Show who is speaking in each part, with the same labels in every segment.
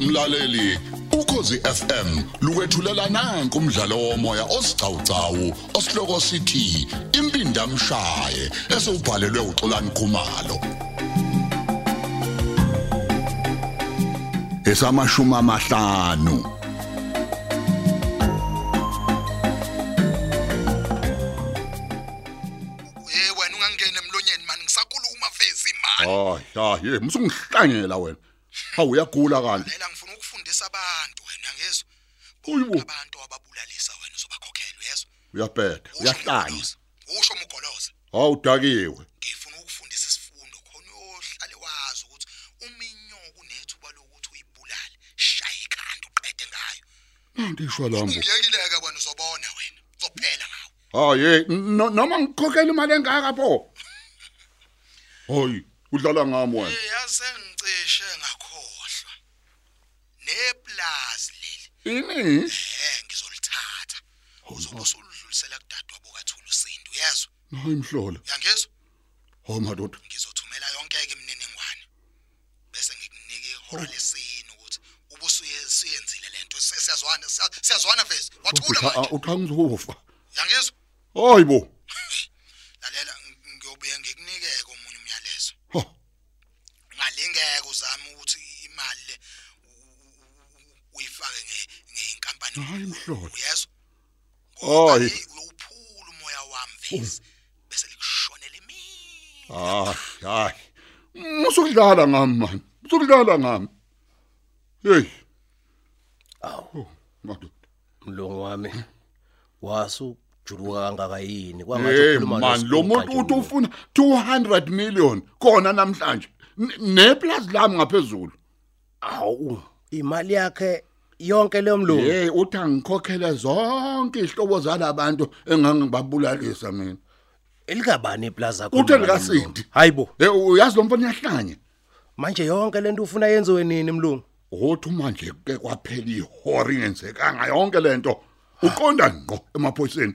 Speaker 1: mlaleli ukhosi FM lukwethulela nanku umdlalo womoya osiqhawqhawo osihloko sithi impindi amshaye esubhalelwe uXolani Khumalo esamashuma amahlanu
Speaker 2: Eh wena ungangena emlonyeni man ngisakhuluma vezi man.
Speaker 1: hayi hayi musungihlangela wena hawu uyagula kanti
Speaker 2: Lela ngifuna ukufundisa abantu wena ngezwe.
Speaker 1: Uyibo.
Speaker 2: Abantu ababulalisa wena uzobakhokhela uyezwa.
Speaker 1: uyaphetha
Speaker 2: Usho
Speaker 1: uyahlanya
Speaker 2: umgoloza, Usho umgoloza.
Speaker 1: hawu dakiwe
Speaker 2: Ngifuna ukufundisa isifundo khona uyohlale wazi ukuthi uminyoka unethuba lokuthi uyibulale. Shaya ikhanda uqede ngayo.
Speaker 1: ndishwa lambo
Speaker 2: Ngiyekileka wena uzobona wena. Uzophela ngawe.
Speaker 1: hayi Oh, no- noma ngikhokhela imali engaka pho hayi udlala ngami wena
Speaker 2: Eh yase ngicishe ngakhohlwa. Neplazi leli.
Speaker 1: ini
Speaker 2: Eh ngizolithatha. usoludlulisela kudadwa bokathula usindo uyezwa
Speaker 1: hayi mhlola
Speaker 2: uyangizwa
Speaker 1: hayi madoda
Speaker 2: ngizothumela yonke ke imniningwane bese ngikunika ihora lesini ukuthi ubusuye siyenzile lento Se- siyazwana siya- siyazwana vezi wathula
Speaker 1: Uthi- ah,
Speaker 2: manje
Speaker 1: uthi angizofa
Speaker 2: uyangizwa
Speaker 1: hayi bo
Speaker 2: lalela ng- ngiyobuye ngikunikeke omunye umyalezo
Speaker 1: Ha,
Speaker 2: ungalingeka uzame ukuthi imali le u- u- u- uyifake nge- ngeyinkampani
Speaker 1: Hhayi, mhlola.
Speaker 2: uyezwa
Speaker 1: Hhayi.
Speaker 2: uyophula umoya wami vezi bese likushonele mina
Speaker 1: hayi hayi musudlala ngami mani musudlala ngami hey Oh, awu madoda
Speaker 3: mlungu wami wasujuluka kangaka yini
Speaker 1: hey man lo muntu uthi ufuna 200 million khona namhlanje Ne- neplazi lami ngaphezulu
Speaker 3: awu imali yakhe yonke leyo mlungu
Speaker 1: hey uthi angikhokhele zonke izihlobo zalabantu engangibabulalisa mina
Speaker 3: elikabani iplaza
Speaker 1: Uthi elikasindi.
Speaker 3: hayibo
Speaker 1: hey uyazi lo mfana uyahlanya
Speaker 3: manje yonke lento ufuna yenziwe nini mlungu
Speaker 1: uthi manje ke kwaphela ihora ingenzekanga yonke lento uqonda ngqo emaphoyiseni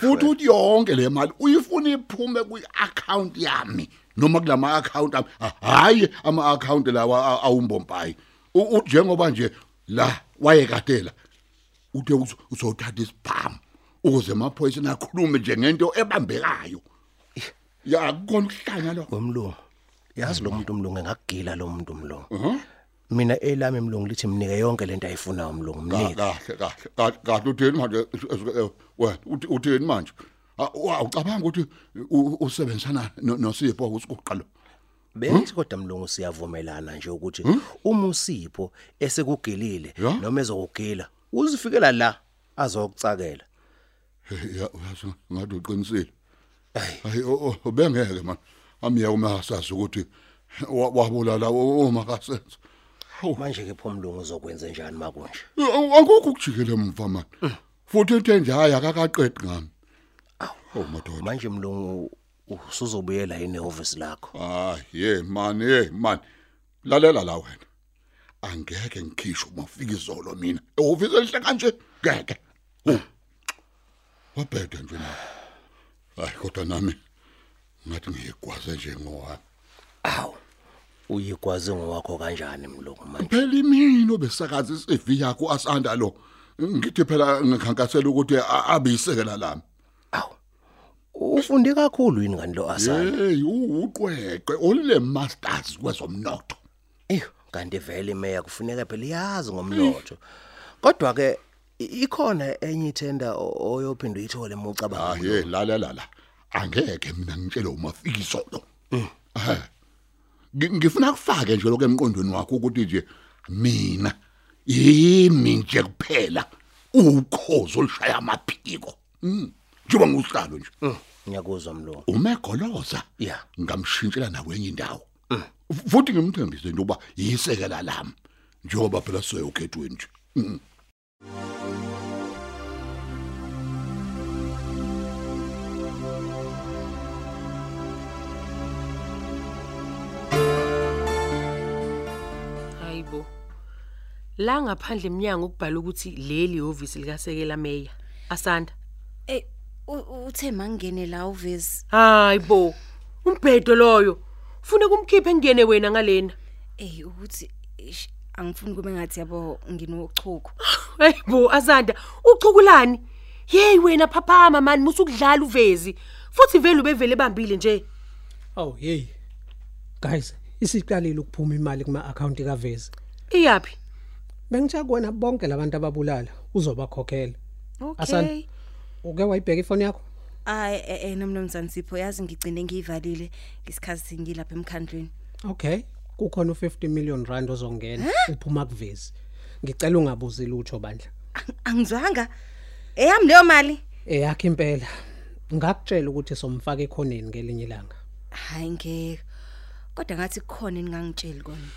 Speaker 1: futhi uthi yonke le mali uyifuna iphume kwi-account yami noma kulama account ami hayi ama account lawa a- awumbombayi U- uthi njengoba nje la wayekadela uthe uzo- uzothatha isibhamu ukuze emaphoyiseni akhulume nje ngento ebambekayo ya kukhona ukuhlanya lo
Speaker 3: wemlungu yazi lo muntu mlungu engakugila lo muntu mlungu
Speaker 1: Mhm.
Speaker 3: mina elami mlungu lithi mnike yonke lento ayifunayo mlungu
Speaker 1: Ka-
Speaker 3: mnike
Speaker 1: kahle kahle Ka- kahle utheni manje Eh, wena uthi- utheni manje Ah, wa- ucabanga ukuthi u- usebenzisana no- nosipho kusiqoqa lo Hmm?
Speaker 3: bethi kodwa mlungu siyavumelana nje ukuthi uma usipho esekugilile
Speaker 1: Ya.
Speaker 3: noma ezokugila uzifikela la azokucakela
Speaker 1: Eh, ya- uyazi ngathi uqinisile
Speaker 3: Ayi.
Speaker 1: hayi o- o- ubengeke man amiya uma sasazi ukuthi wa- wabulala u- uma kasenza
Speaker 3: manje ke phomlungu uzokwenza njani makunje
Speaker 1: Eh, akukho ukujikela emva manje futhi into enje hayi akakaqedi ngami Oh, awu madoda
Speaker 3: manje mlungu usuzobuyela yini office lakho
Speaker 1: Ah, yeah man, hey man. Lalela la wena. Angeke ngikhishwe uma ufika izolo mina. Ehhovisi elihle kanje. Ngeke. Hu. Wabhedwa nje na. Hayi kodwa nami ngathi ngiyigwaze nje ngoba.
Speaker 3: awu uyigwaze ngowakho kanjani mlungu manje
Speaker 1: Phela imini obesakaza iCV yakho asanda lo. Ngithi phela ngikhankasela ukuthi a- abe isekela lami.
Speaker 3: awu ufunde kakhulu yini kanti lo asana
Speaker 1: Hey, uqweqwe olile masters kwezomnotho.
Speaker 3: Eh kanti vele imeya kufuneka phela iyazi ngomlotho. Kodwa ke i- ikhona enye ithenda o- oyophinda uyithole
Speaker 1: Ah,
Speaker 3: mucabanga.
Speaker 1: hey, lalela la. Angeke mina ngitshele uma fika isolo. Eh. Ngi- Ngifuna kufake nje lokho emqondweni wakho ukuthi nje mina yimi nje kuphela ukhozo olishaya amaphiko. Mm. Njengoba ngusihlalo nje.
Speaker 3: Mm, Ngiyakuzwa mlo.
Speaker 1: Umegoloza.
Speaker 3: Yeah.
Speaker 1: Ngamshintshela nakwenye indawo. Futhi ngimthembise into yokuba yisekela lami. Njengoba phela siyokhethweni nje. Mm.
Speaker 4: Hayibo. La ngaphandle eminyango ukubhala ukuthi leli ihovisi likasekela meya. Asanda.
Speaker 5: Ey, u- uthe mangene la uvezi.
Speaker 4: Hayibo. Umbhedo loyo. Ufuna kumkhiphe engene wena ngalena.
Speaker 5: Ey, ukuthi ish, angifuni kube ngathi yabo nginochuku
Speaker 4: Hey bo Azanda, uchukulani? Hey wena phaphama mani musukudlala uvezi. Futhi vele ubevele bambile nje.
Speaker 6: Oh hey. Guys, isiqalile ukuphuma imali kuma account kaVezi.
Speaker 4: Iyapi?
Speaker 6: Bengitshela kuwena bonke labantu ababulala uzobakhokhela.
Speaker 4: Okay.
Speaker 6: Asanda. Uke wayibheka ifoni yakho?
Speaker 5: hayi eh nomnomzane Sipho yazi ngigcine ngiyivalile ngesikhathi ngilapha emkhandlweni
Speaker 6: Okay. Kukhona u50 million rand ozongena uphuma kuVezi. Ngicela ungabuzi lutho bandla.
Speaker 5: Ang- angizwanga eyami leyo mali
Speaker 6: Eyakhe Eh, impela. Ngakutshela ukuthi somfaka ekhoneni ngelinye ilanga.
Speaker 5: hayi ngeke kodwa ngathi kukhona engangitsheli kona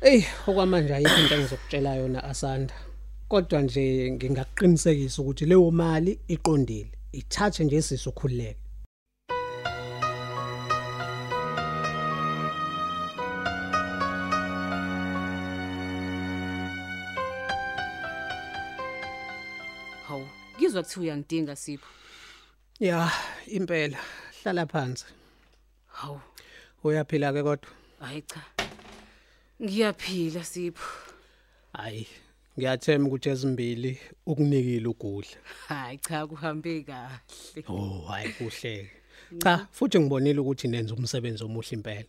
Speaker 6: Ey, okwamanje ayikho into engizokutshela yona Asanda. Kodwa nje ngingakuqinisekisa ukuthi leyo mali iqondile. Ithathe nje isiso khulileke.
Speaker 7: Hawu, ngizwa kuthi uyangidinga Sipho.
Speaker 6: Ya, impela. Hlala phansi.
Speaker 7: Hawu,
Speaker 6: Uyaphila ke kodwa?
Speaker 7: hayi cha. Ngiyaphila Sipho.
Speaker 6: Hayi, ngiyathemba ukuthi ezimbili ukunikile ukudla.
Speaker 7: Hayi cha kuhambe kahle.
Speaker 6: Oh, hayi kuhleke. Cha, futhi ngibonile ukuthi nenza umsebenzi omuhle impela.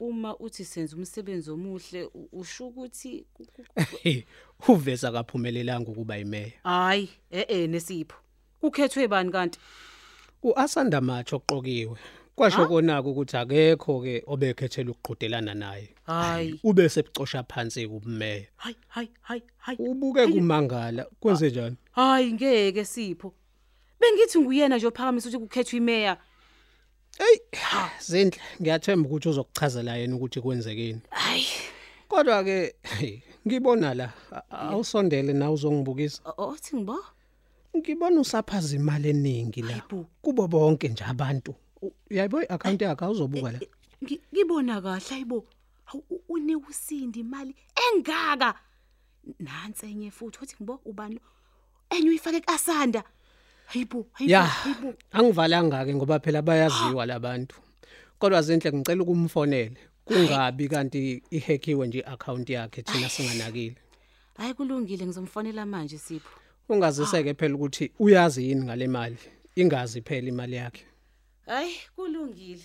Speaker 7: Uma uthi senza umsebenzi omuhle u- usho ukuthi ku- ku-
Speaker 6: Uveza kaphumelelanga ukuba yimeya.
Speaker 7: hayi, eh eh nesipho. Kukhethwe bani kanti?
Speaker 6: uAsanda Macho oqokiwe kwasho konaka ukuthi akekho ke obekhethela ukuqhudelana naye
Speaker 7: Hayi.
Speaker 6: ube sebucosha phansi kubumeya
Speaker 7: Hayi, hayi, hayi, hayi.
Speaker 6: ubuke kumangala kwenze njani
Speaker 7: Hayi ngeke Sipho. Bengithi nguyena nje ophakamisa ukuthi kukhethwe imeya.
Speaker 6: hey zindle ngiyathemba ukuthi uzokuchazela yena ukuthi kwenzekeni
Speaker 7: Hayi.
Speaker 6: kodwa ke hey, ngibona la a- awusondele na uzongibukisa
Speaker 7: o- o- Othi ngibo?
Speaker 6: ngibona usaphaza imali eningi la
Speaker 7: Hayibo.
Speaker 6: kubo bonke nje abantu U- uyayibo iaccount yakhe awuzobuka la
Speaker 7: Ngi- Ngibona kahle ayibo. Hawu u- unika usindi imali engaka. Nansi enye futhi othi ngibo ubani lo? Enye uyifake kaSanda. Hayibo, hayibo,
Speaker 6: Ya,
Speaker 7: hayibo.
Speaker 6: angivalanga ke ngoba phela bayaziwa labantu. Kodwa zinhle ngicela ukumfonele. Kungabi kanti ihackiwe nje iaccount yakhe thina singanakile.
Speaker 7: Hayi kulungile ngizomfonela manje Sipho.
Speaker 6: Ungaziseke phela ukuthi uyazi yini ngale mali. Ingazi phela imali yakhe.
Speaker 7: Hayi kulungile.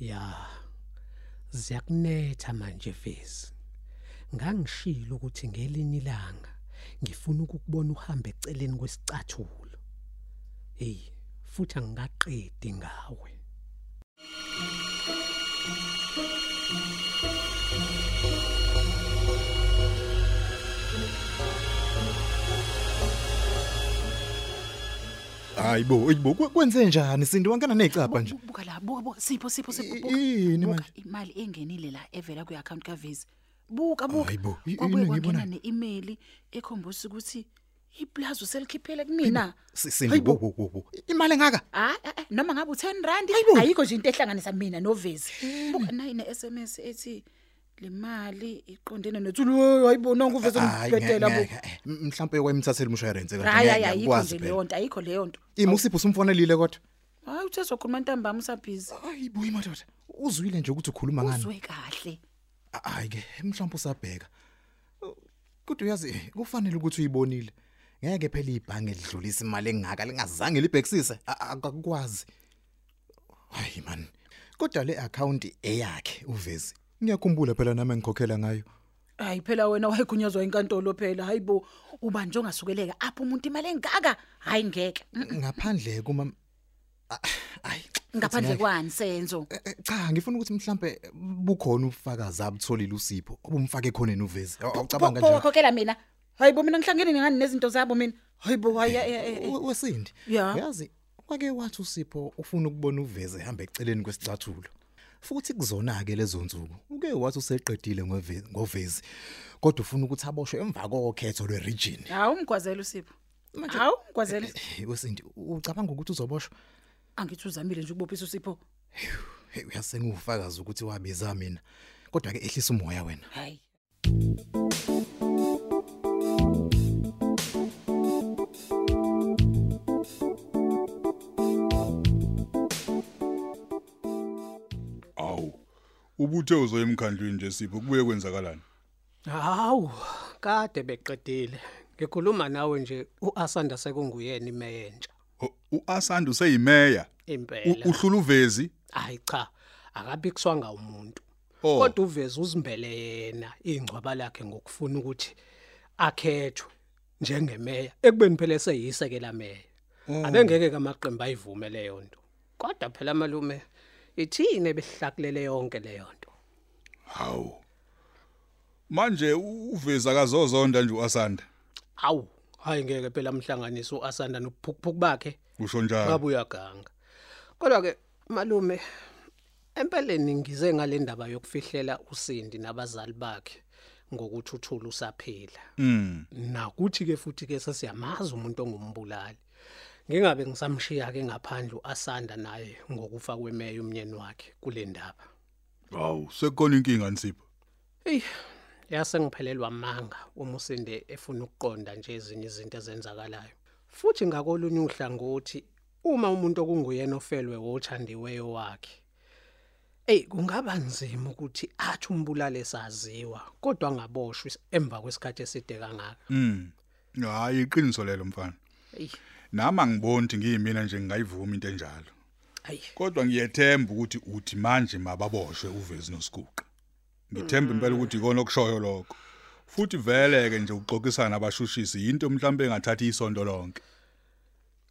Speaker 6: Ya. Siyakunetha manje Vezi. Ngangishilo ukuthi ngelinye ilanga ngifuna ukukubona uhamba eceleni kwesicathulo. Hey, futhi angikaqedi ngawe.
Speaker 8: Hayibo, hayibo kwe- kwenze njani Sindi wankana necapha nje?
Speaker 7: Buka la, buka buka Sipho, Sipho Sipho. buka.
Speaker 8: Yini
Speaker 7: Buka
Speaker 8: manje?
Speaker 7: imali engenile la evela kwi-account kaVisa. Buka buka.
Speaker 8: Hayibo, i-
Speaker 7: Kwabuye
Speaker 8: yini
Speaker 7: kwangena
Speaker 8: engiyibonayo?
Speaker 7: ne-email ekhombisa ukuthi iplaza uselikhiphele kumina.
Speaker 8: Si- Sindi wo wo wo. Imali engaka?
Speaker 7: Ah, ah, ah, noma ngabe u10 rand
Speaker 8: Hayibo.
Speaker 7: ayikho nje into ehlanganisa mina noVezi. Buka nayi ne-SMS ethi lemali iqondene nothulu "Hey, hayibona nguvezi
Speaker 8: Hayi, ngeke,
Speaker 7: ngibhedela bu.
Speaker 8: ngeke. eh, M- mhlambe wayimthathela umshwarensi kanje.
Speaker 7: Hayi
Speaker 8: ngeke,
Speaker 7: hayi ayikho
Speaker 8: ngiyakwazi
Speaker 7: nje
Speaker 8: phela.
Speaker 7: leyo nto, ayikho leyo nto.
Speaker 8: Ima usipho usumfonelile kodwa.
Speaker 7: Hayi uthezwa khona ntambama usabhizi.
Speaker 8: Hayibo imadoda. Uzwile nje ukuthi ukhuluma ngani?
Speaker 7: Uzwe kahle.
Speaker 8: Hayi ke, mhlambe usabheka. Kodwa uyazi eh, kufanele ukuthi uyibonile. Ngeke phela ibhange lidlulisa imali engaka lingazange libhekisise. A- Akakwazi. Hayi man. Kodwa le account eyakhe uvezi. Ngiyakhumbula phela nami ngikhokhela ngayo.
Speaker 7: Hayi phela wena wayigunyazwa inkantolo phela hayibo uba nje ongasukeleka apho umuntu imali engaka hayi ngeke Mm,
Speaker 8: ngaphandle kuma Ah, ayi
Speaker 7: ngaphandle
Speaker 8: futhi
Speaker 7: kwani senzo
Speaker 8: ngeke. Eh, eh, cha ngifuna ukuthi mhlambe bukhona ubufakazi abutholile usipho obumfake ekhoneni uvezi Aw- awucabanga nje
Speaker 7: wakhokhela mina hayibo mina ngihlangene ngani nezinto zabo mina hayibo hayi eh, eh, eh.
Speaker 8: wesindi
Speaker 7: Ya.
Speaker 8: uyazi wake wathi usipho ufuna ukubona uvezi ehamba eceleni kwesicathulo futhi kuzona ke lezo nsuku uke wathi useqedile ngovezi ngovezi kodwa ufuna ukuthi aboshwe emva kokhetho lweregion
Speaker 7: hawu umgwazela usipho hawu umgwazela
Speaker 8: wesindi ucabanga ukuthi uzoboshwa
Speaker 7: angithi uzamile nje ukubophisa usipho
Speaker 8: Hey, uyase ngufakazi ukuthi wabiza mina kodwa ke ehlisa umoya wena
Speaker 7: hayi
Speaker 1: Aw.
Speaker 9: ubuthe uzoya emkhandlwini nje sipho kubuye kwenzakalani
Speaker 6: Hawu, kade beqedile. Ngikhuluma nawe nje uAsanda sekunguyena imeyenja.
Speaker 9: O- uAsanda useyimeya
Speaker 6: Impela.
Speaker 9: U- uhlula uvezi
Speaker 6: Hayi cha, akabikiswanga umuntu.
Speaker 9: Oh.
Speaker 6: Kodwa uveze uzimbele yena ingcwaba lakhe ngokufuna ukuthi akhethwe njengemeya ekubeni phela seyisekela meya.
Speaker 9: Mm.
Speaker 6: Abengeke kamaqembu ayivume le yonto. Kodwa phela malume ithine besihlakulele yonke le yonto.
Speaker 9: hawu manje u- uvezi akazozonda nje uAsanda
Speaker 6: Awu, hayi ngeke phela mhlanganisa uAsanda nobuphukuphuku bakhe.
Speaker 9: usho njalo
Speaker 6: ngabuya ganga kodwa ke malume empeleni ngize ngale ndaba yokufihlela usindi nabazali bakhe ngokuthi uthula usaphila
Speaker 9: mm
Speaker 6: nakuthi ke futhi ke sesiyamaza umuntu ongumbulali ngingabe ngisamshiya ke ngaphandle uasanda naye ngokufa kwemeya umnyeni wakhe kule ndaba
Speaker 9: hawu sekona inkinga nsipho
Speaker 6: Ey, yase ngiphelelwa amanga uma usinde efuna ukuqonda nje ezinye izinto ezenzakalayo. Futhi ngakolunye uhlangothi uma umuntu okunguyena ofelwe wothandiweyo wakhe. Ey, kungaba nzima ukuthi athi umbulale saziwa kodwa ngaboshwa is- emva kwesikhathi eside kangaka.
Speaker 9: mm hayi iqiniso lelo mfana
Speaker 6: Ey,
Speaker 9: nami angibonti ngiyimina nje ngingayivuma into enjalo
Speaker 6: ayi.
Speaker 9: kodwa ngiyethemba ukuthi uthi manje mababoshwe uvezi nosiguqa ngithemba impela ukuthi ikona okushoyo lokho futhi vele ke nje uxoxisana abashushisi into mhlawumbe engathathi isonto lonke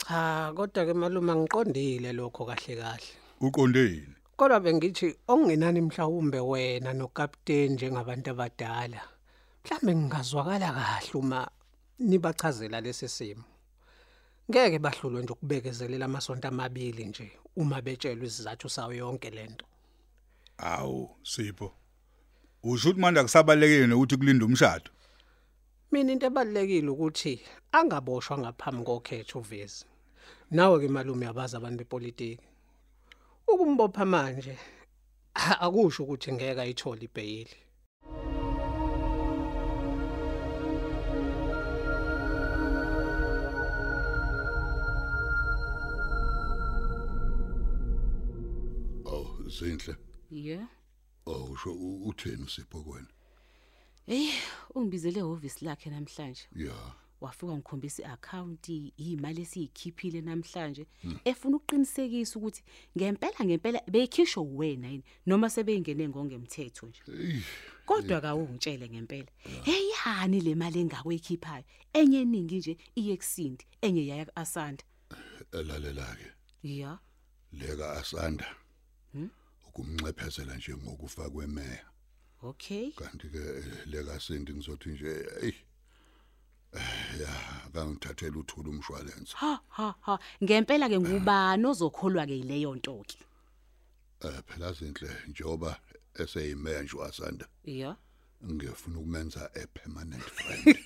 Speaker 6: Cha, kodwa ke maluma ngiqondile lokho kahle kahle.
Speaker 9: uqondeni
Speaker 6: Kodwa bengithi okungenani mhlawumbe wena nokapteni njengabantu abadala. Mhlambe ngingazwakala kahle uma nibachazela lesi simo. Ngeke bahlulwe nje ukubekezelela amasonto amabili nje uma betshelwe isizathu sayo yonke lento.
Speaker 9: awu sipho usho ukuthi manje akusabalekile nokuthi kulinde umshado
Speaker 6: Mina into ebalekile ukuthi angaboshwa ngaphambi kokhetho uvezi. Nawe ke malume yabaza abantu bepolitiki. Ukumbopha manje a- akusho ukuthi ngeke ayithole ibhayili.
Speaker 1: Oh, zinhle.
Speaker 7: Yeah.
Speaker 1: Oh, usho u- utheni usipho kwena?
Speaker 7: Hey, ungibizele ehhovisi lakhe namhlanje.
Speaker 1: Yeah.
Speaker 7: Wafika ngikhombisa i-account imali esiyikhiphile namhlanje efuna ukuqinisekisa ukuthi ngempela ngempela beyikhishwe wena yini noma sebeyingene ngongemthetho nje.
Speaker 1: Ey,
Speaker 7: Kodwa kawungitshele ngempela. Hey yani le mali engakweyikhiphayo enye eningi nje iyekusindi enye yaya ku-Asanda.
Speaker 1: elalela ke.
Speaker 7: Yeah.
Speaker 1: Leka asanda. Ukumnxephezela nje ngokufa kwemeya.
Speaker 7: Okay.
Speaker 1: Kanti ke eh, leka sindi ngizothi nje ey. Eh, ya, kangithathela uthula umshwalense.
Speaker 7: Ha ha ha. Ngempela ke ngubani ozokholwa ke leyo nto ke?
Speaker 1: Eh, phela zinhle njoba eseyimeya nje asanda.
Speaker 7: Yeah.
Speaker 1: Ngiyafuna ukumenza a permanent friend.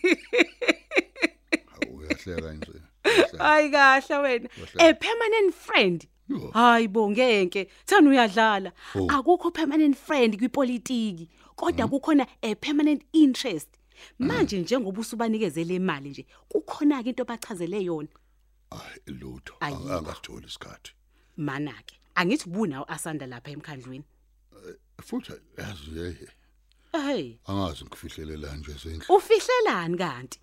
Speaker 1: Hawu uyahleka nje. Uyahleka.
Speaker 7: Hayi kahla wena.
Speaker 1: Kahle.
Speaker 7: A permanent friend.
Speaker 1: Yo.
Speaker 7: Hayi bo ngeke. Thana uyadlala. Akukho permanent friend kwipolitiki. Kodwa
Speaker 1: Hmm?
Speaker 7: kukhona a permanent interest. Manje njengoba usubanikezele imali nje, kukhona ke into bachazele yona.
Speaker 1: Ay lutho
Speaker 7: Ayi.
Speaker 1: Ang- angasitholi isikhathi.
Speaker 7: Mana ke. Angithi bunawo asanda lapha emkhandlwini.
Speaker 1: Futhi yazi eh,
Speaker 7: Hey,
Speaker 1: angazi ngifihlelelani nje zindle.
Speaker 7: ufihlelani kanti?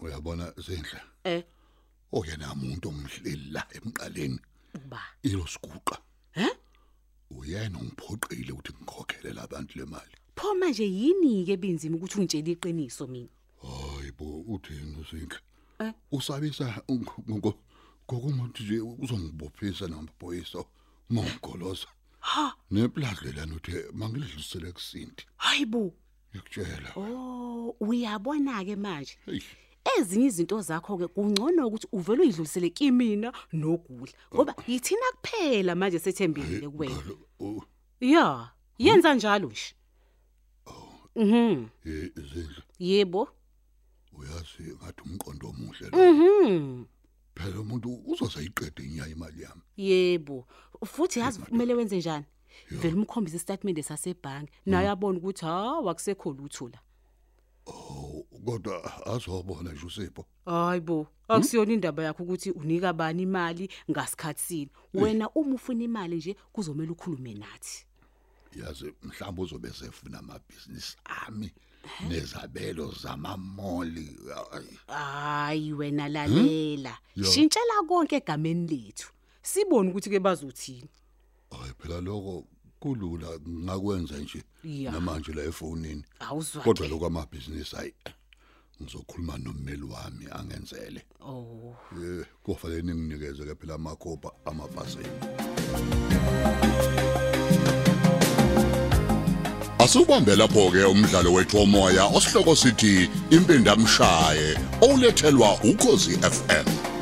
Speaker 1: Uyabona zindle.
Speaker 7: Eh,
Speaker 1: Oyena umuntu omhleli la emqaleni
Speaker 7: uba.
Speaker 1: ilo siguqa.
Speaker 7: Eh?
Speaker 1: Uyena ungiphoqile ukuthi ngikhokhelele labantu lemali.
Speaker 7: Pho manje yini ke binzima ukuthi ungitshele iqiniso mina?
Speaker 1: Hayibo uthini zindle?
Speaker 7: Eh?
Speaker 1: Usabisa ngokumuntu nje uzongibophisa namaphoyisa ngomgoloza.
Speaker 7: Ha,
Speaker 1: Neplazi lana uthe mangilidlulisele kusindi.
Speaker 7: hayibo.
Speaker 1: Ngiyakutshela.
Speaker 7: Oh, uyabona ke manje.
Speaker 1: Hey.
Speaker 7: ezinye izinto zakho ke kungcono ukuthi uvele uyidlulisele kimina nogudla ngoba yithina kuphela manje sethembile kuwena
Speaker 1: ngalo, oh,
Speaker 7: ya yenza njalo nje mhm
Speaker 1: eh, Zindle.
Speaker 7: yebo
Speaker 1: uyazi ngathi umqondo omuhle lo
Speaker 7: mhm
Speaker 1: phela umuntu uzosayiqeda inyaya imali yami
Speaker 7: yebo futhi yazi kumele wenze njani vele umkhombise istatement sasebhangi naye abona ukuthi ha wakusekho lutho la
Speaker 1: Oh, kodwa azobona nje usipho
Speaker 7: hayibo akusiyona indaba yakho ukuthi unika bani imali ngasikhathi sini wena uma ufuna imali nje kuzomela ukhulume nathi
Speaker 1: yazi mhlawumbe uzobe sefuna amabhizinisi ami nezabelo zamamoli Ay,
Speaker 7: hayi wena lalela shintshela konke egameni lethu sibone ukuthi ke bazothini
Speaker 1: hayi phela lokho kulula ngakwenza nje
Speaker 7: Ya.
Speaker 1: namanje la efonini
Speaker 7: awuzwa
Speaker 1: kodwa lokho amabhizinisi hayi ngizokhuluma nommeli wami angenzele
Speaker 7: oh
Speaker 1: eh kufanele ninginikeze ke phela amakhopha amabhasini
Speaker 10: Asubambe lapho ke umdlalo wethu omoya osihloko sithi impindamshaye olethelwa ukozi FM.